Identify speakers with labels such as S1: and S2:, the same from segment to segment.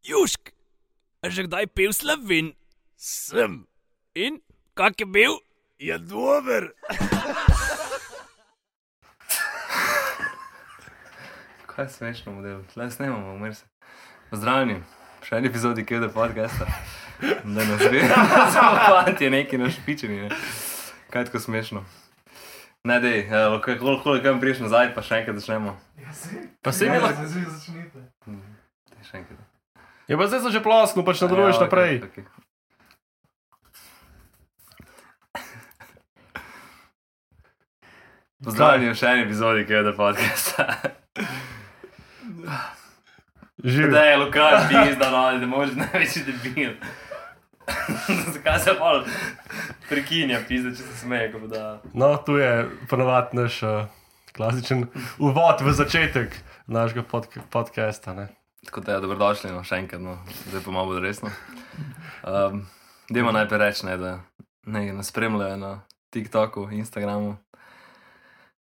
S1: Južk, a že kdaj pil slovin?
S2: Sem,
S1: In kak je bil?
S2: je dober.
S3: Kaj je smešno model? Tle snemamo, umir se. Pozdravljeni, še en epizodi Kjeda podcasta. Da nas ve, samo fanti je neki našpičeni. Ne? Kaj je tako smešno? Ne, eh, dej, koliko kam priješ nazaj, pa še enkrat začnemo.
S4: Pa se mi lahko.
S3: Daj, Še enkrat.
S4: Je Ja, pa zdaj so že plasno, pač nadaljuješ
S3: Ja,
S4: naprej.
S3: okej, okej. Pozdravljeni v še en epizodi Kjeda podcasta. Da
S4: Živi.
S3: je Lukaš pizda, no, ne moreš največji debil. Zakaj se pol prekinja pizda, če se smeje, ko bo da.
S4: No, tu je ponovadi naš uh, klasičen uvod v začetek našega podk podcasta. Ne?
S3: Tako da je dobrodošli, no, še enkrat, no, zdaj pa malo bolj resno. Um, Dajmo najprej reči, ne, da ne, nas spremljajo na TikToku, Instagramu.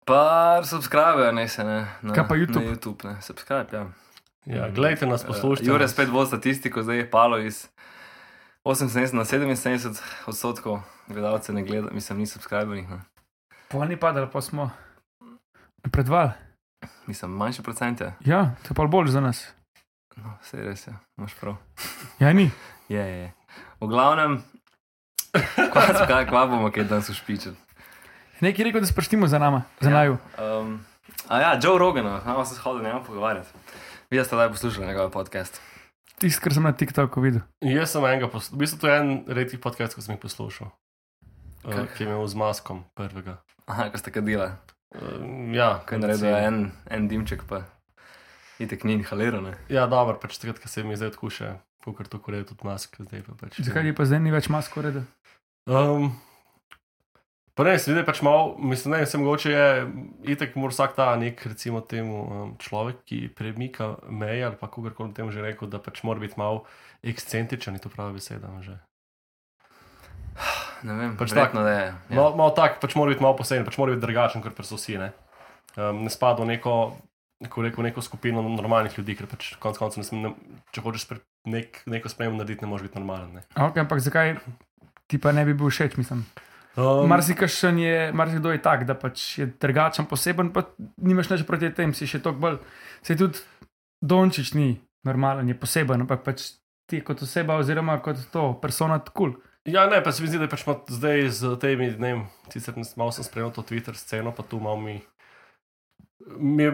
S3: Pa subskrbijo, ne se ne. Na,
S4: Kaj pa YouTube?
S3: Na YouTube, ne, subscribe, ja.
S4: Ja, glejte nas, poslušajte.
S3: Uh, Jure
S4: nas.
S3: spet bo statistiko, zdaj je palo iz 78 na 77 odstotkov gledalcev ne gleda, mislim, ni subskrbenih. Ne.
S5: Pa ni padalo, pa smo predval.
S3: Mislim, manjši procent je.
S5: Ja, to je pa bolj za nas.
S3: No, vse res je, imaš prav.
S5: Ja, ni.
S3: Je, je, je. V glavnem, kva, kva, kva bomo kaj danes ušpičili.
S5: Nekaj je rekel, da sproštimo za nama,
S3: Ja.
S5: za ja. naju.
S3: Um, a ja, Joe Rogan, imamo se shodili, ne moremo pogovarjati. Vi ste zdaj poslušali njegov podcast.
S5: Tisti, kar sem na TikToku videl.
S4: Jaz sem enega poslušal, v bistvu to je en redkih podcastov, ki sem jih poslušal, uh,
S3: Kaj?
S4: ki je imel z maskom prvega.
S3: Aha, ko ste kadila,
S4: Uh, ja,
S3: ko je naredil en, en dimček, pa itek ni inhaliran. ne.
S4: Ja, dobro, pač takrat, ko se mi zdaj odkuša, kukar to kurejo tudi mask, zdaj pa pač.
S5: Zakaj je pa zdaj ni več masko reda?
S4: Um, pa ne, seveda je pač malo, mislim, ne, sem mogoče je, itek mora vsak ta nek, recimo temu um, človek, ki premika meje ali pa kukarkoli temu že rekel, da pač mora biti malo ekscentričen, je to prava beseda. a Že.
S3: Ne vem,
S4: Pač
S3: pač verjetno da je.
S4: Ja. Mal, malo tak, pač mora biti malo poseben, pač mora biti drugačen, kot pa so vsi. Ne, um, ne spada v neko, kako rekel, neko skupino normalnih ljudi, ker pač konec koncev, ne, sme- ne, če hočeš spre, nek, neko spremembo narediti, ne moreš biti normalen. Ne.
S5: Okay, ampak zakaj ti pa ne bi bil všeč, mislim.
S4: Um,
S5: Marsikšen je, marsikdo je tak, da pač je drugačen, poseben, pa nimaš nič proti tem, si še toliko bolj. Se tudi Dončić ni normalen, je poseben, ampak pač ti kot oseba oziroma kot to persona kul. Cool.
S4: Ja, ne, pa se mi zdi, da je pač ima zdaj z temi dnevi, sicer nes- malo sem spremljal to Twitter sceno, pa tu malo mi, mi je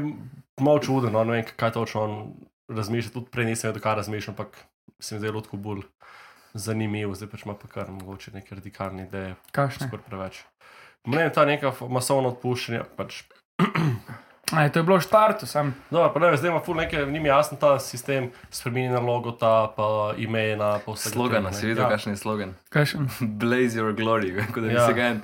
S4: malo čudno, no, ne vem, kaj točno on razmišlja, tudi prej nisem vedel, kaj razmišlja, ampak se mi zdi lotko bolj zanimivo, zdaj pač ima pa kar mogoče neke radikalne ideje,
S5: Kakšne?
S4: skoraj preveč. Ne vem, ta neka f- masovna odpuščanja, pač
S5: Aj, to je bilo v štartu, sam.
S4: Dobro, pa ne, zdaj ima ful nekaj, ni mi jasno ta sistem, spremenjena logota, pa imena, pa vse.
S3: Slogan, si videl, ja. kakšen je slogan.
S5: Kakšen?
S3: Blaze your glory, kot da bi
S4: Ja.
S3: ja. se ga en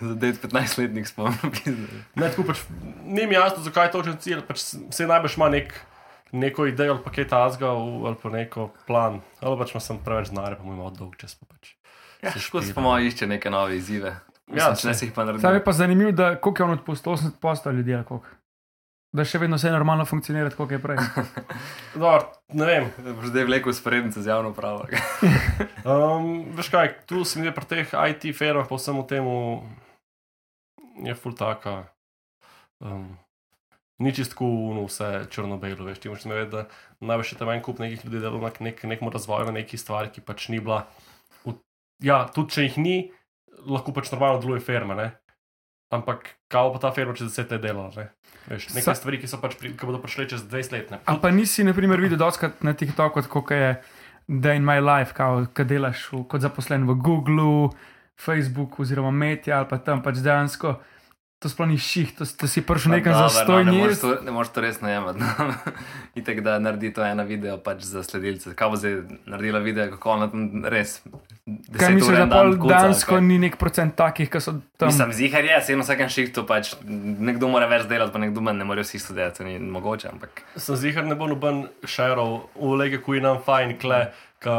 S3: za 9-15-letnik spomnil. Ja, pizda.
S4: Ne, tako pač ni mi jasno, zakaj je točen cilj. Pač se najbrž ima nek, neko idejo ali paket azga ali pa neko plan. Ali pač ima sem preveč znare, pa mu ima dolg čas. Pa pač.
S3: Ja,
S4: Se
S3: Škoda,
S4: špila.
S3: pa malo išče neke nove izzive. Mislim, ja, če ne
S4: saj.
S3: si jih pa
S5: Sam je
S3: naredil.
S5: pa zanimivo, da koliko je on odpustil 80 posto ljudi, ali koliko. Da še vedno vse normalno funkcionira, kot je prej.
S4: Dobro, No, ne vem.
S3: Boš Zdaj vlekel sporednice z javno pravo.
S4: Um, veš kaj, tu se mi je pri teh IT firmah, pa vsemu temu je ful taka. Um, Ni čistko uno, vse črno-belo, veš, ti moraš vedeti, da največ je tam en kup nekih ljudi delalo na nek, nekem razvoju, na neki stvari, ki pač ni bila. V, ja, tudi če jih ni, lahko pač normalno deluje firma, ne? Ampak kao pa ta firma čez deset let delala, ne? Veš,
S5: Sa-
S4: neke stvari, ki, so pač pri, ki bodo prišle čez 20 let, ne?
S5: Ali pa nisi, na primer, videl doskrat na TikToku, kot je Day in My Life, kao, kaj delaš v, kot zaposlen v Googlu, Facebooku oziroma Metja ali pa tam pač dejansko. To sploh ni ših, to, to si prišel nekam
S3: Dobro,
S5: za
S3: no, ne
S5: stojni.
S3: moreš to- Ne moreš to res najemati. No. Itek, da naredi to ena video pač za sledilce. Kaj bo zdaj naredila video, kako ona tam res.
S5: Kaj
S3: deset ur
S5: misliš, da
S3: en dan
S5: pol
S3: kuca,
S5: dansko
S3: ali kaj?
S5: ni nek procent takih, ki so tam?
S3: Mislim, zihar je, se na vsakem šihtu pač nekdo mora več delati, pa nekdo manj, ne more vsi sodelovati, to ni mogoče, ampak
S4: Sem zihar ne bo noben šerov, ulege, kuj nam fajn, kle, ka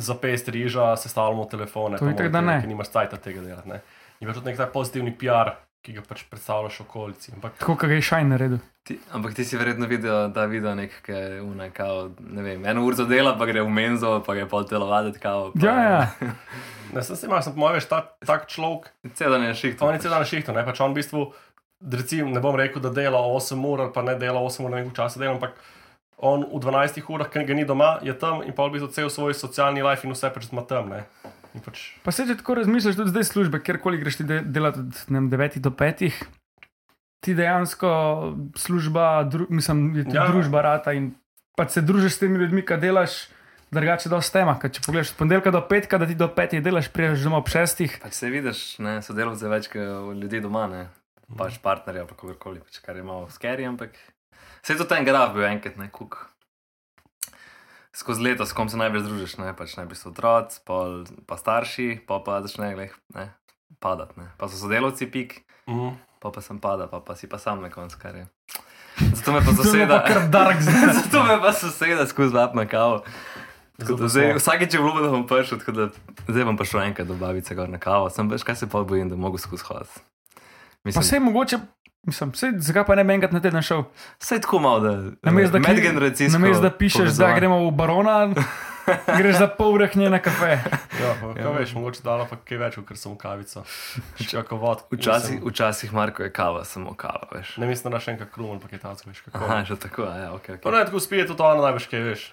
S4: za pest riža sestavljamo telefone.
S5: To itak da ne.
S4: pač Ker nimaš cajta tega delati. Ne? In pa tudi nek tak pozitivni PR, ki ga pač predstavljaš okolici. Ampak
S5: Tako, kot ga je šajn naredil.
S3: Ti, ampak ti si verjetno videl ta video, nek, ki je unaj, kao, ne vem, eno uro dela, pa gre v menzo, pa je pa telovaditi kao. Pa,
S5: Ja, ja.
S4: ne sem se imel, sem pomagal, veš, ta, tak človek,
S3: Cel dan je šiht.
S4: on je cel dan na šihtu, ne pač on v bistvu, recimo, ne bom rekel, da dela 8 ur ali pa ne dela 8 ur, ne vem, koliko časa dela, ampak on v 12 urah, ker ga ni doma, je tam in pa v bistvu cel svoj socialni life in vse pač ima tam, ne. In pač
S5: Pa se če tako razmišljaš, tudi zdaj službe, kjerkoli greš ti de delati od ne vem, 9 do 5, ti dejansko služba, dru mislim, je ti
S4: Ja.
S5: ja. družba rata in pa se družiš s temi ljudmi, ki delaš, drugače da ostema. Ker Če pogledaš od ponedeljka do petka, da ti do petih delaš, priješ domov ob šestih.
S3: Pač se vidiš, ne, sodelavce več kot ljudi doma, ne.
S5: Mm.
S3: Pač partnerja, pa kogarkoli, pač kar je malo skeri, ampak se je tudi ten graf bil enkrat, ne, kuk. Skozi leto, s kom se najbolj združiš, ne, pač najbolj so otroci, pol pa starši, pa pa začne gleh, ne, padati, ne. Pa so sodelavci pik,
S4: Mm.
S3: pa pa sem pada, pa, pa si pa sam na koncu, kar je. Zato me pa soseda,
S5: Kar dark zdaj.
S3: zato me pa soseda skozi lap na kavo. Tako da
S4: Zato
S3: Zdaj,
S4: smo-
S3: vsakeč je bilo, da bom prišel, tako da zdaj bom prišel enkrat do babice gor na kavo, sem veš, kaj se pa bojim, da mogo skozi hoditi.
S5: Pa
S3: Mislim,
S5: se je mogoče, mislim, sej, zakaj pa ne bi enkrat na teden šel?
S3: vse je tako malo, da eh,
S5: Namesto da, kli-
S3: medgeneracijsko.
S5: namesto da pišeš, da
S3: povezovanje.
S5: gremo v barona, greš za pol vrhnje na kafe.
S4: Ja, pa, kaj veš, mogoče dala pa kaj več, ker sem kavica. Čakovod.
S3: Včasih, včasih Marko je kava, samo kava, veš.
S4: Ne mislim, da še enkrat krumen, pa kaj tako veš, kako.
S3: Aha, že tako, a ja, ok.
S4: Pa
S3: okay.
S4: ne, tako spije tudi ona, največ kaj veš.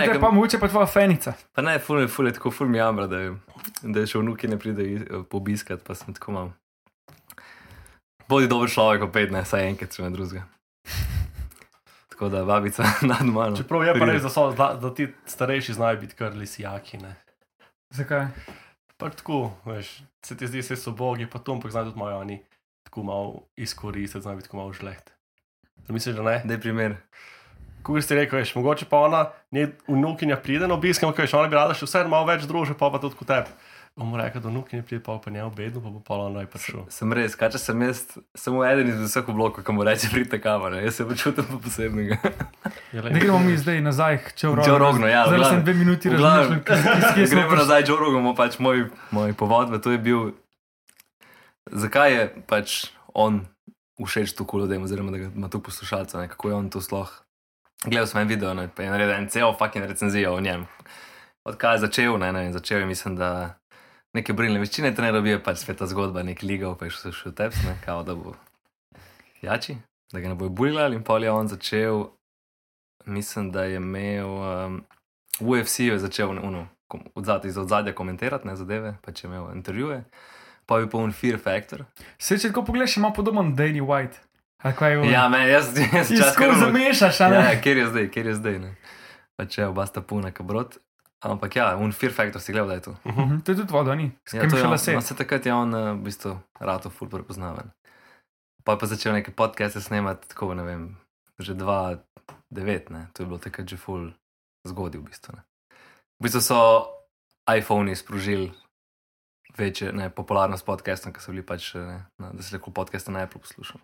S3: ne,
S5: te
S3: ker-
S5: pa, mogoče pa tvoja fenica.
S3: Pa ne, ful je, ful je tako, ful mi jamra, da, je- da je še vnuki ne pride iz- pobiskati, pa sem tako imam. Bodi dober človek, opet ne, saj enkrat, če ne drugega. Tako da babica nad mano.
S4: Čeprav je pa
S3: pride.
S4: res, da, so, da, da ti starejši znajo biti kar lisijaki. Ne?
S5: Zakaj?
S4: Pa tako, veš, se ti zdi, se so bogi, pa to, ampak znajo tudi malo oni tako malo izkoristiti, znajo biti tako malo žleht. Da misliš, da ne?
S3: Daj primer.
S4: Kugor si rekel, veš, mogoče pa ona, njen vnukinja pride na obisk, ampak veš, ona bi rada še vse malo več družila, pa pa tudi kot tebi. Bomo rekli, da vnukinja pride, pa bo pa ne obedno, pa bo pa ona naj prišel.
S3: Sem res, kaj če sem jaz, samo eden iz vseh oblokov, kam reče, pridite kamor, jaz se počutim pa posebnega.
S4: Je
S5: Ne gremo mi zdaj nazaj, če v
S3: Joe Rognu, ja, v
S5: Zdaj sem
S3: glavnem.
S5: dve minuti
S3: V glavnem.
S5: razmišljal, kje smo
S3: Gremo
S5: prišli.
S3: nazaj, Joe Rogan, pač moj, moj povod, v to je bil, zakaj je pač on všeč to kulo, da ima, oziroma da ga ima tu poslušalce, ne, kako je on to sloh. Gledal sem en video, ne, pa je naredil en cel fucking recenzijo o njem. Odkaj je začel, ne, ne, in začel je, mislim, da neke brilne veščine trenira, bil je pač sveta zgodba, nek ligov, pa je šel še v teps, ne, kao da bo jači, da ga ne bojo buljali in pol je on začel, mislim, da je imel, um, v UFC-ju je začel, uno, od zadaj, iz ozadja komentirati, ne zadeve, pa če je imel intervjuje, pa je bil poln Fear Factor.
S5: Se če tako pogledaš, ima podoben Danny White. A kaj je on?
S3: Ja, men, jaz, jaz
S5: ti
S3: čas
S5: tako zamešaš, a ne?
S3: Ja, kjer je zdaj, kjer je zdaj. Ne? Pa če oba sta puna, kabrot. Ampak ja, un Fear Factor si gledal, da je to.
S5: Mhm, To je tudi voda, ni. S
S3: Ja,
S5: kim
S3: to je
S5: še
S3: on,
S5: lase?
S3: no, se takrat je on eh, v bistvu rato ful prepoznaven. Pa je pa začel neke podcaste snemati, tako ne vem, že 2-9, ne, to je bilo takrat že ful zgodil v bistvu. Ne. V bistvu so iPhone sprožili večjo ne, popularnost podcastom, ker so bili pač, eh, ne, na- da se lahko podcaste na Apple poslušali.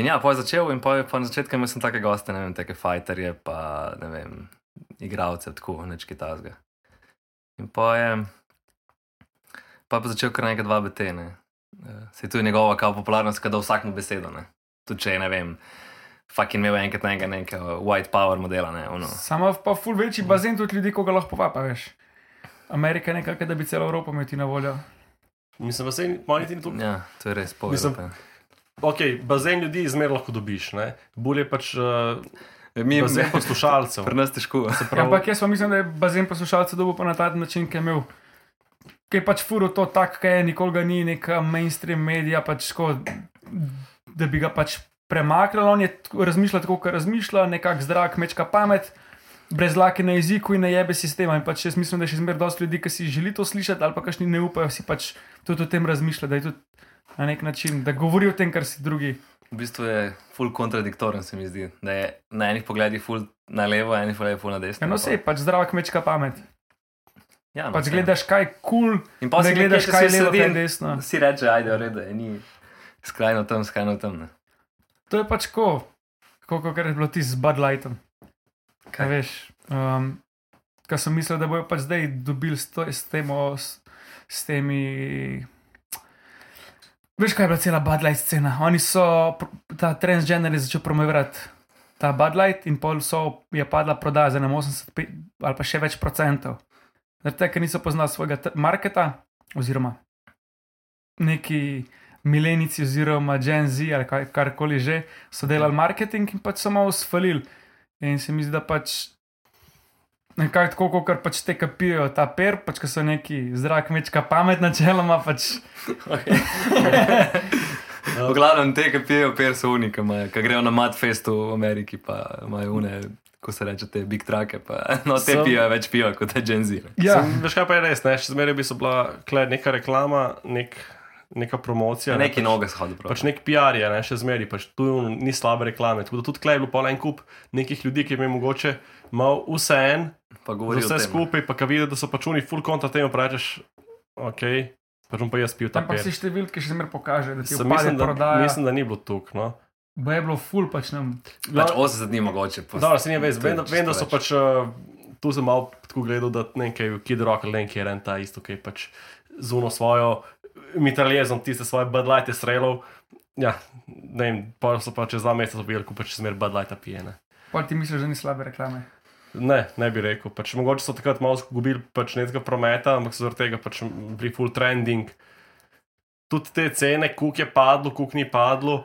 S3: In ja, pa je začel in pa, je- pa na začetku imel sem take goste, ne vem, take fighterje, pa ne vem, igralce, tako neč kaj tasga. In pa je, pa je pa začel kar nekaj dva betene. Se Eh, je tu njegova kao popularnost, kada vsakmu besedo, ne. Tudi če je, ne vem, fucking imel enkrat nekaj, nekaj white power modela, ne, ono.
S5: Sama pa ful večji bazen tudi ljudi, koga lahko vapa, veš. Amerika je nekako, da bi celo Evropo imel ti na voljo.
S4: Mislim, da se manj ti ni to
S3: Ja, to je res
S4: Mislim,
S3: povedal.
S4: Ok, bazen ljudi zmer lahko dobiš, ne? bolje je pač uh,
S3: eh, Mi
S4: bazen poslušalcev.
S3: Pri nas težko.
S5: Ja, ampak jaz pa mislim, da je bazen poslušalcev dobil pa na ta način, ki je imel. Ki je pač furo to tak, ki je nikoli ga ni neka mainstream medija, pač tako, da bi ga pač premaknil. On je tako- razmišljal tako, kot razmišlja, nekak zdrav, kmečka pamet, brez lake na jeziku in ne jebe sistema. In pač jaz mislim, da je še zmeraj dosti ljudi, ki si želi to slišati ali pa kašni ne upajo si pač tudi o tem razmišljati, da je tudi na nek način, da govori o tem, kar si drugi.
S3: V bistvu je ful kontradiktoren, se mi zdi. Da je na enih pogledih ful na levo, na enih pogledih ful na desno.
S5: Ja, no, sej, pač zdrava kmečka pamet.
S3: Ja,
S5: Pač
S3: saj.
S5: gledaš, kaj kul, cool,
S3: In
S5: ne
S3: si
S5: gledaš,
S3: nekje,
S5: kaj je
S3: si
S5: levo, kaj je
S3: sredin,
S5: desno.
S3: Si reče, ajde, v redu, je, ni skrajno tam, skrajno tam. Ne.
S5: To je pač ko, kako kar je bilo ti z Bud Lightom. Kaj veš? Um, Kaj sem mislil, da bojo pač zdaj dobili s, to, s, temo, s, s temi Veš, kaj je bila cela Bud Light scena? Oni so, pr- ta transgender je začel promovirati ta Bud Light in pol so, je padla prodaja za nam 85 ali pa še več procentov. Zaradi tega, ker niso poznali svojega tr- marketa, oziroma neki milenici, oziroma Gen Z ali kaj, karkoli že, so delali marketing in pač so malo usfalili. In se mi zdi, da pač nekako tako, kot pač te kapijo ta per, pač ko so neki zrak, mečka pamet, načeloma pač.
S4: No.
S3: V glavnem te, ki pijejo perso unika, ki grejo na Madfestu v Ameriki, pa imajo une, ko se reče, te big trake, pa no te
S4: Sem-
S3: pijejo več pijo kot te Gen Z.
S5: Ja,
S4: Sem, veš kaj pa je res, ne? še zmeraj bi so bila kle, neka reklama, nek, neka promocija.
S3: Ja,
S4: ne,
S3: neki
S4: pač-
S3: noge shodu, prav.
S4: Pač nek PR je, ne, še zmeraj, pač tu ni slabe reklame. Tako da tudi klej je bil pa en kup nekih ljudi, ki jim je mogoče mal vse en,
S3: Pa
S4: za
S3: govorijo
S4: vse skupaj, pa ki vidijo, da so pač oni full kontra temu, pa rečeš, ok, pač bom pa jaz pil ta
S5: ampak
S4: pijač.
S5: se številke še zmeraj pokaže, da ti
S4: Sem
S5: upade
S4: mislim, da,
S5: prodaja.
S4: mislim, da ni bilo tuk. No.
S5: Bo je bilo ful pač nam.
S3: Pač 80 dni mogoče. pa-
S4: Dobro, se ne veš, vem, no. da-
S3: to je
S4: vem, da so
S3: čisto
S4: pač. Uh, tu sem malo tako gledal, da nekaj Kid Rock ali nekaj je en ta isto, ki je pač zuno svojo mitraljezom tiste svoje Bud Light strelov. Ja, ne vem, pa so pa čez dva meseca dobili, ko pač smer Bud Lighta pije. Ne.
S5: Pol ti misliš, da ni slabe reklame.
S4: Ne, ne bi rekel. Pač, mogoče so takrat malo izgubili pač nekega prometa, ampak so zaradi tega pač bili full trending. Tudi te cene, kuk je padlo, kuk ni padlo,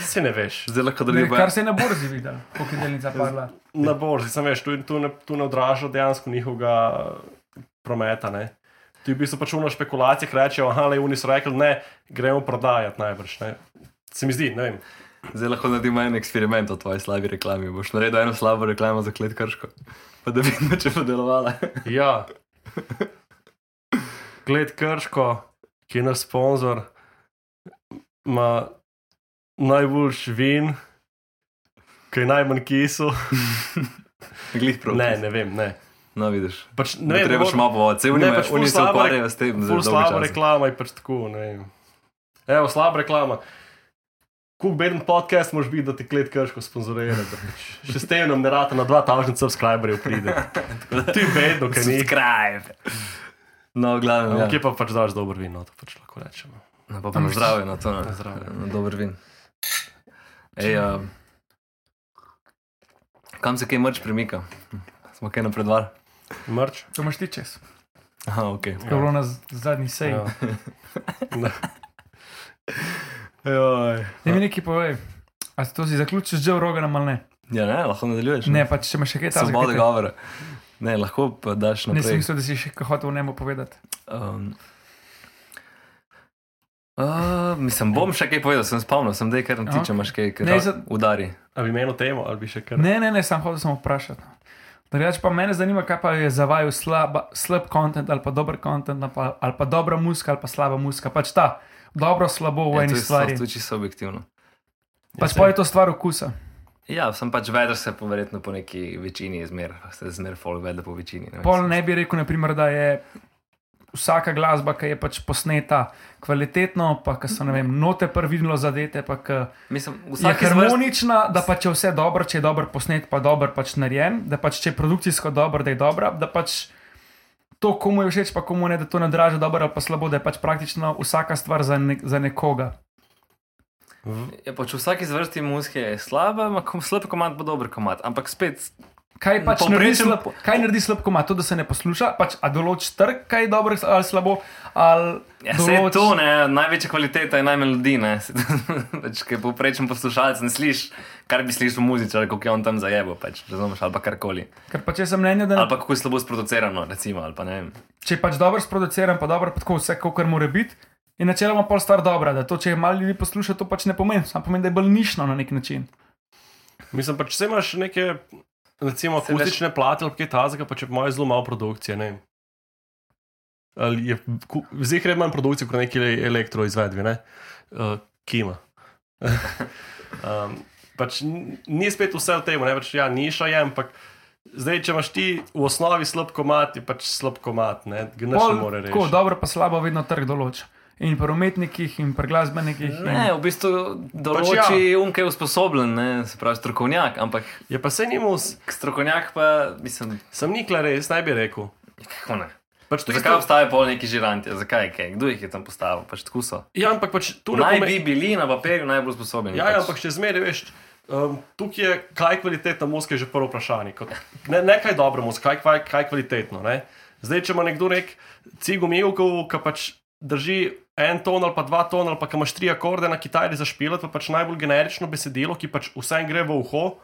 S4: se ne veš.
S3: Zdaj lahko
S5: Ne,
S3: dobijo.
S5: kar se je na borzi videl, koliko je delnica padla.
S4: Na borzi, sem veš, tu, tu, ne, tu ne odraža dejansko njihovega prometa. Ne. Tu je v bistvu pač uno špekulacije, ki rečejo, ah, le oni so rekli, ne, gremo prodajati najbrž. Ne. Se mi zdi, ne vem.
S3: Zdaj lahko naredimo en eksperiment o tvoji slabi reklami. Boš naredil eno slabo reklamo za klet krško, pa da vidimo, če bo delovala.
S4: Ja. Gled Krško, ki je naš sponzor, ima najboljši vin, ki je najmanj kisel.
S3: Glih prav.
S4: Ne, ne vem, ne.
S3: No, vidiš.
S4: Pač, ne
S3: Ne,
S4: vem,
S3: treba
S4: mogoče-
S3: še malo povoditi. Vse
S4: Ne,
S3: unime,
S4: pač ful
S3: oni se
S4: slaba
S3: ukvarjajo s tem.
S4: Ful slaba reklama je pač tako. ne vem. Evo, slaba reklama. Kuk beden podcast moraš biti, da ti klet krško sponzorira. da pač Še s tem nam ne rata na 2000 subscriberjev pride. Ti bedno, kaj ni.
S3: Subscribe. No, glavno.
S4: Ampak
S3: Ja.
S4: je pa pač daš dober vin, no, to pač lahko rečemo.
S3: No, pa pa na zdravje, na to.
S4: Na
S3: Na
S4: zdravje.
S3: Na dober vin. Ej, uh, kam se kaj mrč premika? Smo kaj napredvar?
S4: Mrč.
S5: To imaš ti čez.
S3: Aha, ok.
S5: To je bilo na z- zadnji seji.
S4: Ja. Ne.
S3: Joj.
S5: Ne mi neki povej, a si to si zaključil že v roga na malne?
S3: Ja, ne, lahko nadaljuješ.
S5: Ne, pač če imaš še kaj takega.
S3: Svobode
S5: kaj te-
S3: govora. Ne, lahko pa daš
S5: Ne, sem
S3: naprej.
S5: mislil, da si še kaj hotel v njemu povedati.
S3: Um, uh, mislim, bom še kaj povedal, sem spomnil, sem dej, ker ti,
S5: Aha.
S3: če imaš kaj, kar
S5: Ne,
S3: ne,
S5: za-
S3: udari.
S4: A bi menil temo ali bi še kar.
S5: Ne, ne, ne, sam hotel sem vprašati. no. Drugač pa mene zanima, kaj pa je za vaju slaba, slab kontent ali pa dober kontent ali, pa- ali pa dobra muzika ali pa slaba muzika. Pač ta, dobro, slabo v
S3: Ja,
S5: eni
S3: to je stvar,
S5: stvari.
S3: to je čisto objektivno.
S5: Pač pa je to stvar okusa.
S3: Ja, sem pač vedel, se pa verjetno po neki večini zmer, se zmer folk vedel po večini. ne vem,
S5: Pol
S3: sem-
S5: ne bi rekel, naprimer, da je vsaka glasba, ki je pač posneta kvalitetno, pa ki so ne vem, note prvidno zadete, pa ki
S3: Mislim,
S5: je
S3: vsak harmonij.
S5: harmonična, da pač je vse dobro, če je dobro posnet, pa dobro pač narejen, da pač če je produkcijsko dobro, da je dobra, da pač to, komu je všeč, pa komu ne, da to ne draža dobro ali pa slabo, da je pač praktično vsaka stvar za, ne, za nekoga.
S3: Je pač vsak izvrsti muzike je slaba, ima kom, slab komad, pa dober komad. Ampak spet,
S5: Kaj pač
S3: Povprečen-
S5: naredi slab, kaj naredi slab komat, to, da se ne posluša, pač a določ trg, kaj je dobro ali slabo, ali
S3: ja, se je
S5: določ...
S3: to, ne, največja kvaliteta je najmanj ljudi. ne, saj to- pač, Ker povprečen poslušalec ne sliši, kar bi slišal muzičar, kako je on tam zajebo, pač, razumeš, ali pa karkoli.
S5: Ker pač jaz sem mnenja, da ne
S3: Ali pa kako je slabo sproducirano, recimo, ali pa ne vem.
S5: če je pač dobro sproduciran, pa dobro, pa tako vse, kar mora biti. In načeloma pol stvar dobra, da to, če je malo ljudi posluša, to pač ne pomeni, samo pomeni, da je bolj nišno na nek način.
S4: Mislim, pač se imaš neke, recimo,
S3: Saj veš-
S4: akustične plate ali kaj takega, pa če imaš zelo malo produkcije. Ne? vem. Ali je ku- zdaj gre manj produkcije kot neki elektroizvedbi, ne? uh, ki ima. um, pač n- ni spet vse v tem, ne pač ja, niša je, ampak. Zdaj, če imaš ti v osnovi slab komat, je pač slab komat, ne, Ga nič ne more
S5: tako,
S4: reči.
S5: dobro pa slabo vedno trg določa. In pri umetnikih, in pri glasbenikih.
S3: Ne,
S5: In...
S3: v bistvu določi
S4: Pač
S3: pač
S4: ja.
S3: ja. um, ki je usposoben, ne, se pravi strokovnjak, ampak
S4: Je pa se njemu,
S3: strokovnjak pa, mislim,
S4: sem nikla res, naj bi rekel.
S3: kako ne.
S4: Pač to
S3: Zakaj
S4: isto-
S3: obstajajo pol neki žirantje, zakaj kaj, kdo jih je tam postavil, pač tako so.
S4: Ja, ampak pač to ne
S3: Naj
S4: pomeni-
S3: bi bili na papirju najbolj pač. sposobni.
S4: Ja, ja, ampak še zmeraj veš. Um, tukaj je, kaj je kvalitetna muzika, je že prvo vprašanje. Kot, ne, ne kaj dobro muzika, kaj, kaj, kaj je kvalitetno. Ne? Zdaj, če ima nekdo nek cigomijevkov, ki pač drži en ton ali pa dva tona, ali pa ki imaš tri akorde na kitari za špilat, pa pač najbolj generično besedilo, ki pač vsem gre v uho,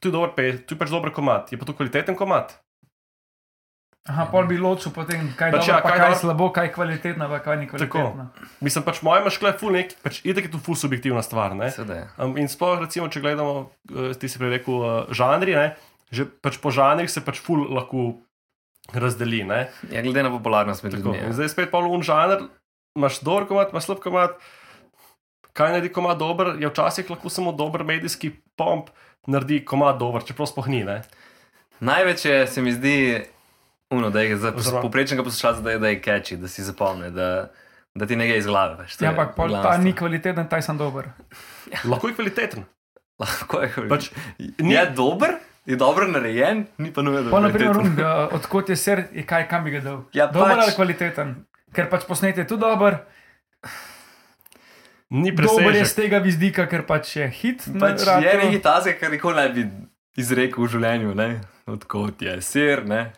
S4: tu je, dober, pe- to je pač dober komat, je pa to kvaliteten komat.
S5: Aha, pol bi ločil potem, kaj je
S4: Pač
S5: pač,
S4: ja,
S5: dobro,
S4: kaj
S5: pa kaj, kaj
S4: dobro-
S5: slabo, kaj je kvalitetno, pa kaj ni kvalitetno.
S4: Mislim, pač moje imaš kle ful nek, pač itek je to ful subjektivna stvar. Ne?
S3: Sedaj.
S4: Um, in sploh, recimo, če gledamo, eh, ti si prej rekel, uh, žanri, ne, že pač po žanrih se pač ful lahko razdeli. ne.
S3: Ja, glede na popularnost med
S4: Tako,
S3: ljudmi.
S4: in
S3: ja.
S4: zdaj spet polno un žanr, imaš dober komat, imaš slab komat. Kaj naredi komat dober, je včasih lahko samo dober medijski pomp naredi komat dober, čeprav sploh ni. Ne?
S3: Največ je, se mi zdi, uno, da je za
S4: Oziroma-
S3: poprečnega poslušalca, da je, da je catchy, da si zapomni, da, da ti ne gre iz glave. Veš, to
S5: Ja,
S3: je
S5: ampak pol
S3: glavna
S5: ta ni
S3: stvar.
S5: kvaliteten, ta je sem dober.
S4: Lahko je kvaliteten.
S3: Lahko je kvaliteten.
S4: Pač,
S3: Pač,
S4: ni,
S3: ni... Je dober, je dobro narejen, ni pa nujno, da
S5: Pol, na primer,
S3: kvaliteten.
S5: um, odkot je ser, je kaj, kam bi ga dal.
S3: Ja,
S5: dober
S3: pač.
S5: ali kvaliteten. Ker pač posnet je tu dober,
S4: ni
S5: dober je z
S4: presežek.
S5: tega vidika, ker pač je hit. na
S3: Pač je
S5: radiu.
S3: nekaj tazga, kar nikoli ne bi izrekel v življenju, ne? odkot je sir, ne?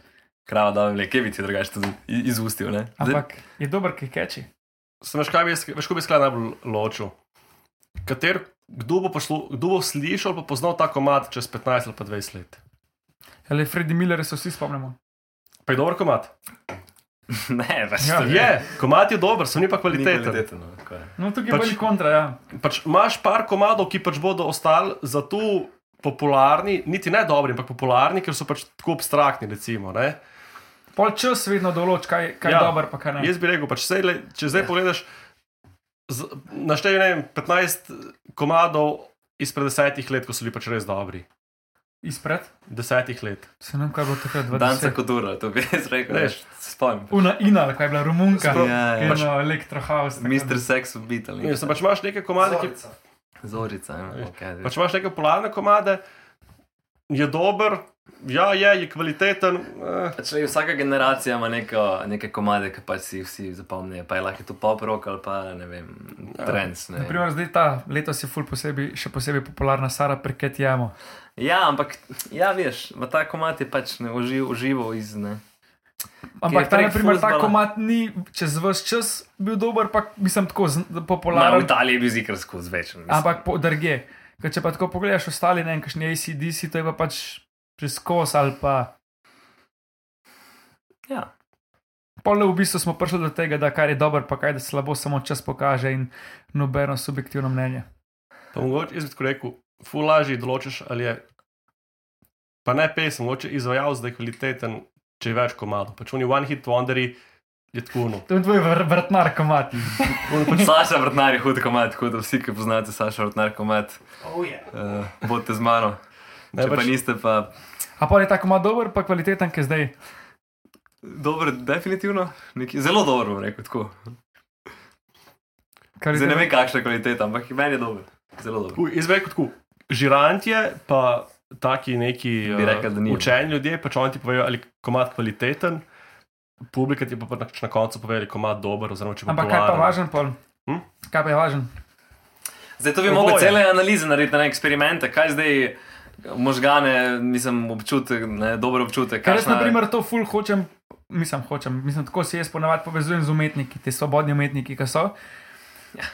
S3: krava da vem, kje bi ti drugače tudi i- izustil. Ne? Zdaj-
S5: Ampak je dober, ki keči.
S4: Sem veš, kaj bi jaz- veš, ko bi sklad najbolj ločil. Kater, kdo bo, poslu, kdo bo slišal ali pa poznal ta komat čez 15 ali pa 20 let?
S5: Ali Freddy Ja, Miller se vsi spomnimo.
S4: Pa je dober komat.
S3: ne, pač
S5: Ja,
S3: to
S4: Je, komat je dober, sem ni pa
S3: ni
S4: kvaliteten.
S3: kvaliteten. no, tako je.
S5: No, tukaj
S4: Pač-
S5: pač... je bolj kontra, ja.
S4: Pač imaš par komadov, ki pač bodo ostali za to popularni, niti ne dobri, ampak popularni, ker so pač tako abstraktni. Recimo, ne.
S5: Pol čas vedno določ, kaj, kaj ja. je dober, pa kaj ne.
S4: Jaz bi rekel, pač sej, le, če zdaj pogledaš, naštej ne vem, 15 komadov izpred desetih let, ko so bili pač res dobri.
S5: Izpred.
S4: Desetih let.
S5: Se nam kaj bo takrat
S3: Danca
S5: 20.
S3: kot ura, to bi jaz rekel.
S4: Veš.
S3: Veš, se spomnim.
S5: Una Ina, ali kaj je bila Romunka,
S3: Sploh- Ja, ja.
S5: ki je na Electrohouse. tako
S3: Mister
S5: da-
S3: Sex ubit ali
S4: Ne,
S3: nekaj.
S4: se pač imaš neke komade, ki,
S3: Zorica, ja,
S4: Veš,
S3: okay,
S4: pač imaš neke popularne komade, je dober, ja, je, je kvaliteten. Eh.
S3: pač, ej, vsaka generacija ima neko, neke komade, ki pač si jih vsi zapomnijo. Pa je lahko to pop rock ali pa ne vem,
S4: Ja.
S3: trends. Ne.
S5: Naprimer, zdaj ta letos je ful posebej, še posebej popularna Sara Perket Jamo.
S3: Ja, ampak ja, veš, ma ta komad je pač ne uživ, užival iz ne.
S5: Ampak
S3: je
S5: ta,
S3: prek
S5: naprimer, ta
S3: fuzbala.
S5: komat ni čez vse čas bil dober, pa mislim tako zn-
S3: Ma, v
S5: popularen.
S3: Italiji je bil zikr skozi večer. mislim.
S5: ampak po drge. Ker če pa tako pogledaš, ostali ne, kakšni ACDC, to je pa pač čez kos ali pa.
S3: Ja.
S5: Pole v bistvu smo prišli do tega, da kar je dobro, pa kaj je slabo, samo čas pokaže in nobeno subjektivno mnenje.
S4: Pa mogoče jaz bi tako rekel, ful lažje določiš, ali je. Pa ne pesem, mogoče izvajalec, da je kvaliteten, če je več komadov. Pač oni one hit wonderi je tako no.
S5: To je tvoj vr- vrtnar komat.
S3: Pač Saša vrtnar je hud komad, tako da vsi, ki poznate Saša vrtnar komad, oh, yeah. uh, bodite z mano.
S4: Ne,
S3: Če pa
S4: pač-
S3: niste, pa
S5: A pa je ta komat dober, pa kvaliteten, ki zdaj.
S3: dobro, definitivno, nekaj, zelo dobro bom rekel. Tako.
S5: Kar je
S3: Zdaj ne
S5: zdaj-
S3: vem, kakšna je kvaliteta, ampak meni je dobro. Zelo dobro.
S4: Tako, Jaz bi rekel tako, žirantje, pa taki neki
S3: Bi rekel, da ni. no.
S4: eh, učeni ljudje, pač oni ti povejo, ali je komad kvaliteten. Publika ti pa pa na- na koncu pove, ali je komad dober. Oziroma, če je
S5: Ampak kaj pa
S4: popularen.
S5: važen pol?
S4: Hm?
S5: Kaj pa je važen?
S3: Zdaj to bi
S4: Oboje.
S3: lahko cele analize naredil, ne eksperimente, kaj zdaj možgane, mislim, občutek, ne, dober občutek.
S5: Ker jaz,
S3: kakšna-
S5: na primer, to ful hočem, mislim, hočem, mislim, tako se jaz ponavadi povezujem z umetniki, ti svobodni umetniki, ki so.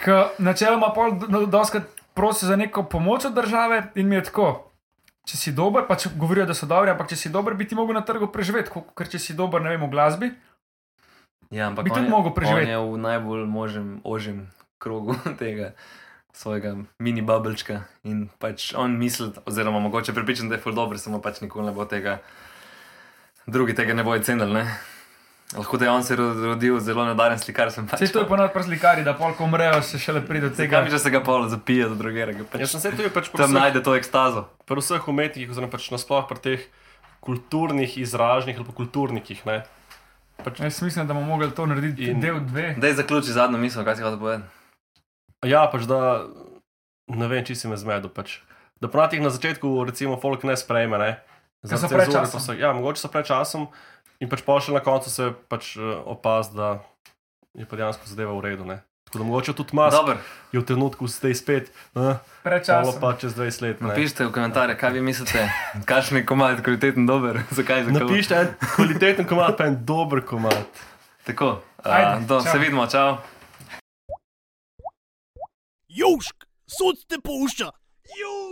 S5: Ker načeloma pol do- doskrat prosijo za neko pomoč od države in mi je tako. Če si dober, pač govorijo, da so dobri, ampak če si dober, bi ti mogel na trgu preživeti, ko- ker če si dober, ne vem, v glasbi.
S3: ja, ampak
S5: bi
S3: on
S5: tudi
S3: je-
S5: mogel preživeti.
S3: On je v najbolj možem, ožjem krogu tega svojega mini babelčka in pač on misli, oziroma mogoče pripričan, da je ful dobro, samo pač nikoli ne bo tega, drugi tega ne bojo cenili, ne. Lahko da je on se ro- rodil zelo nadaren slikar, sem pač.
S5: Vse to je ponavadi prslikari, da pol, ko umrejo, se šele pride do
S3: Tega
S5: tega. Ja,
S3: mi že se ga polo zapije do drugega, ga
S4: Jaz
S3: pač
S4: sem se tudi pač
S3: tam
S4: vseh-
S3: najde to ekstazo.
S4: pri vseh umetnikih, oziroma pač nasploh pri teh kulturnih izražnih ali pa kulturnikih. Ne?
S5: Jaz mislim, da bomo mogli to narediti
S4: In-
S5: in... del dve.
S3: Daj zaključi zadnjo misel, kaj si hotel povedati.
S4: Ja, pač da ne vem, če si me zmedel. Pač. Da ponati na začetku, recimo, folk ne sprejme. Ne?
S5: Ker so
S4: cenzuro,
S5: pred časom.
S4: pa so- Ja, mogoče so pred časom. In pač pa še na koncu se pač eh, opaz, da je pa dejansko zadeva v redu. Ne? Tako da mogoče tudi mas
S3: Dobro,
S4: je v trenutku zdaj spet, eh, malo
S5: Prečasno.
S4: pa čez 20 let. ne.
S3: napišite v komentarje, kaj vi mislite, kakšen je komad, kvaliteten, dober, zakaj zakaj.
S4: Napišite en kvaliteten komat, pa en dober komat.
S3: Tako, a,
S5: Ajde,
S3: do,
S5: čau.
S3: se vidimo, čau.
S1: Južk, sod te pušča. Južk.